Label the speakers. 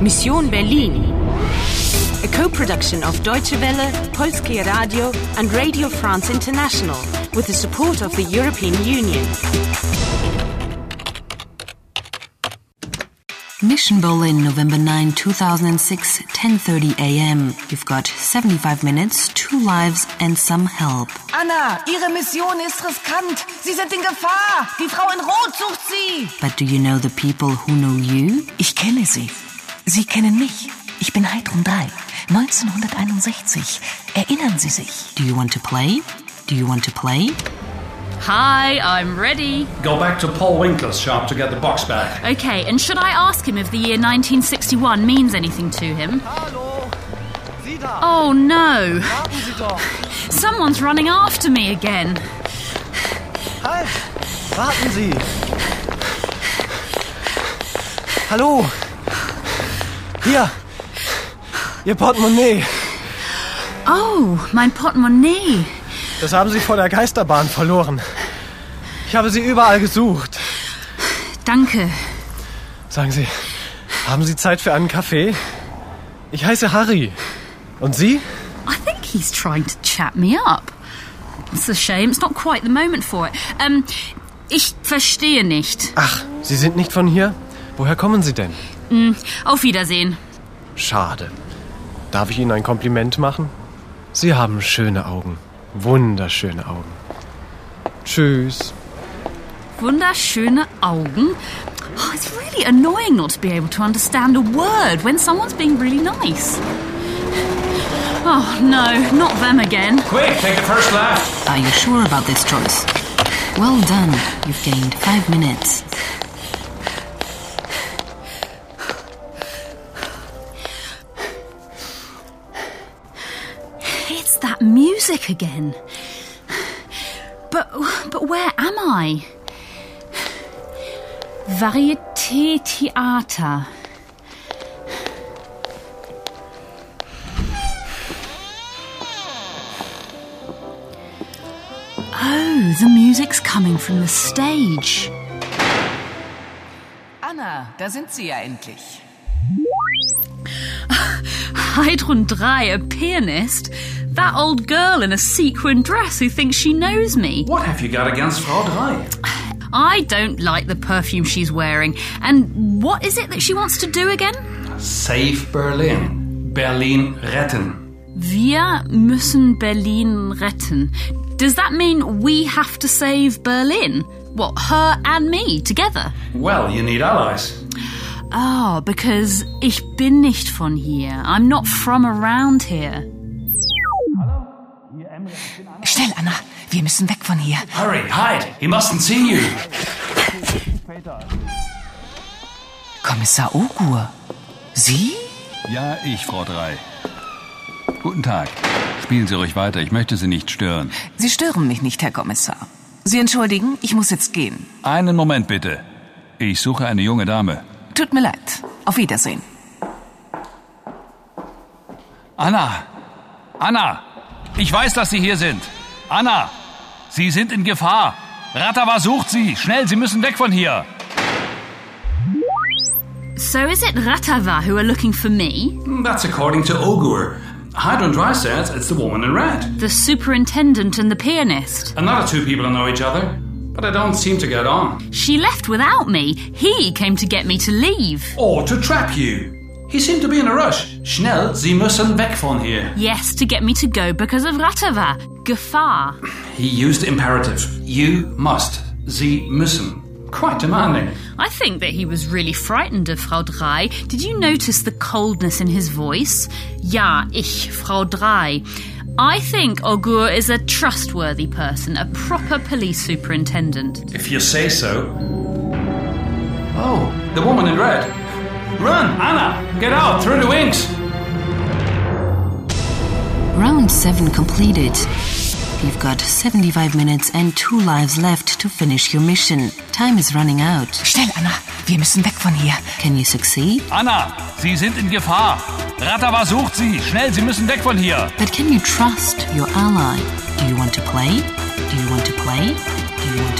Speaker 1: Mission Berlin. A co-production of Deutsche Welle, Polskie Radio and Radio France International with the support of the European Union.
Speaker 2: Mission Berlin, November 9, 2006, 10:30 a.m. You've got 75 minutes, two lives and some help.
Speaker 3: Anna, Ihre Mission ist riskant. Sie sind in Gefahr. Die Frau in Rot sucht Sie.
Speaker 2: But do you know the people who know you?
Speaker 4: Ich kenne Sie. Sie kennen mich. Ich bin Heidrun 3, 1961. Erinnern Sie sich?
Speaker 2: Do you want to play? Do you want to play?
Speaker 5: Hi, I'm ready.
Speaker 6: Go back to Paul Winkler's shop to get the box back.
Speaker 5: Okay, and should I ask him if the year 1961 means anything to him?
Speaker 7: Hallo! Sie da!
Speaker 5: Oh no!
Speaker 7: Haben Sie doch!
Speaker 5: Someone's running after me again.
Speaker 7: Halt! Warten Sie! Hallo! Hier! Ihr Portemonnaie!
Speaker 5: Oh, mein Portemonnaie.
Speaker 7: Das haben Sie vor der Geisterbahn verloren. Ich habe Sie überall gesucht.
Speaker 5: Danke.
Speaker 7: Sagen Sie, haben Sie Zeit für einen Kaffee? Ich heiße Harry. Und Sie?
Speaker 5: I think he's trying to chat me up. It's a shame. It's not quite the moment for it. Um, ich verstehe nicht.
Speaker 7: Ach, Sie sind nicht von hier? Woher kommen Sie denn?
Speaker 5: Auf Wiedersehen.
Speaker 7: Schade. Darf ich Ihnen ein Kompliment machen? Sie haben schöne Augen. Wunderschöne Augen. Tschüss.
Speaker 5: Wunderschöne Augen. Oh, it's really annoying not to be able to understand a word when someone's being really nice. Oh no, not them again.
Speaker 6: Quick, take the first left.
Speaker 2: Are you sure about this choice? Well done. You've gained 5 minutes.
Speaker 5: It's that music again. But but where am I? Varieté Theater. Oh, the music's coming from the stage.
Speaker 3: Anna, da sind Sie ja endlich.
Speaker 5: Heidrun 3, a pianist? That old girl in a sequin dress who thinks she knows me.
Speaker 6: What have you got against Frau Drei?
Speaker 5: I don't like the perfume she's wearing. And what is it that she wants to do again?
Speaker 6: Save Berlin. Berlin retten.
Speaker 5: Wir müssen Berlin retten. Does that mean we have to save Berlin? What, her and me together?
Speaker 6: Well, you need allies.
Speaker 5: Ah, because ich bin nicht von hier. I'm not from around here.
Speaker 4: Schnell, Anna. Wir müssen weg von hier.
Speaker 6: Hurry, hide. He mustn't see you.
Speaker 4: Kommissar Ogur. Sie?
Speaker 8: Ja, Äh, ich, Frau Drei. Guten Tag. Spielen Sie ruhig weiter, ich möchte Sie nicht stören.
Speaker 4: Sie stören mich nicht, Herr Kommissar. Sie entschuldigen, ich muss jetzt gehen.
Speaker 8: Einen Moment bitte. Ich suche eine junge Dame.
Speaker 4: Tut mir leid. Auf Wiedersehen.
Speaker 8: Anna! Anna! Ich weiß, dass Sie hier sind. Anna! Sie sind in Gefahr. Ratawa sucht Sie. Schnell, Sie müssen weg von hier.
Speaker 5: So is it Ratava who are looking for me?
Speaker 6: Hmm, That's according to Ogur. Hydron Dry says it's the woman in red.
Speaker 5: The superintendent and the pianist?
Speaker 6: Another two people know each other, but they don't seem to get on.
Speaker 5: She left without me. He came to get me to leave.
Speaker 6: Or to trap you. He seemed to be in a rush. Schnell, Sie müssen weg von hier.
Speaker 5: Yes, to get me to go because of Ratava. Gefahr.
Speaker 6: He used imperative. You must. Sie müssen. Quite demanding.
Speaker 5: I think that he was really frightened of Frau Drei. Did you notice the coldness in his voice? Ja, ich, Frau Drei. I think Ogur is a trustworthy person, a proper police superintendent.
Speaker 6: If you say so. Oh, the woman in red. Run, Anna! Get out through the wings!
Speaker 2: Round 7 completed. You've got 75 minutes and 2 lives left to finish your mission. Time is running out.
Speaker 4: Schnell, Anna. Wir müssen weg von hier.
Speaker 2: Can you succeed?
Speaker 8: Anna! Sie sind in Gefahr. Ratawa sucht Sie. Schnell, Sie müssen weg von hier.
Speaker 2: But can you trust your ally? Do you want to play? Do you want to play? Do you want to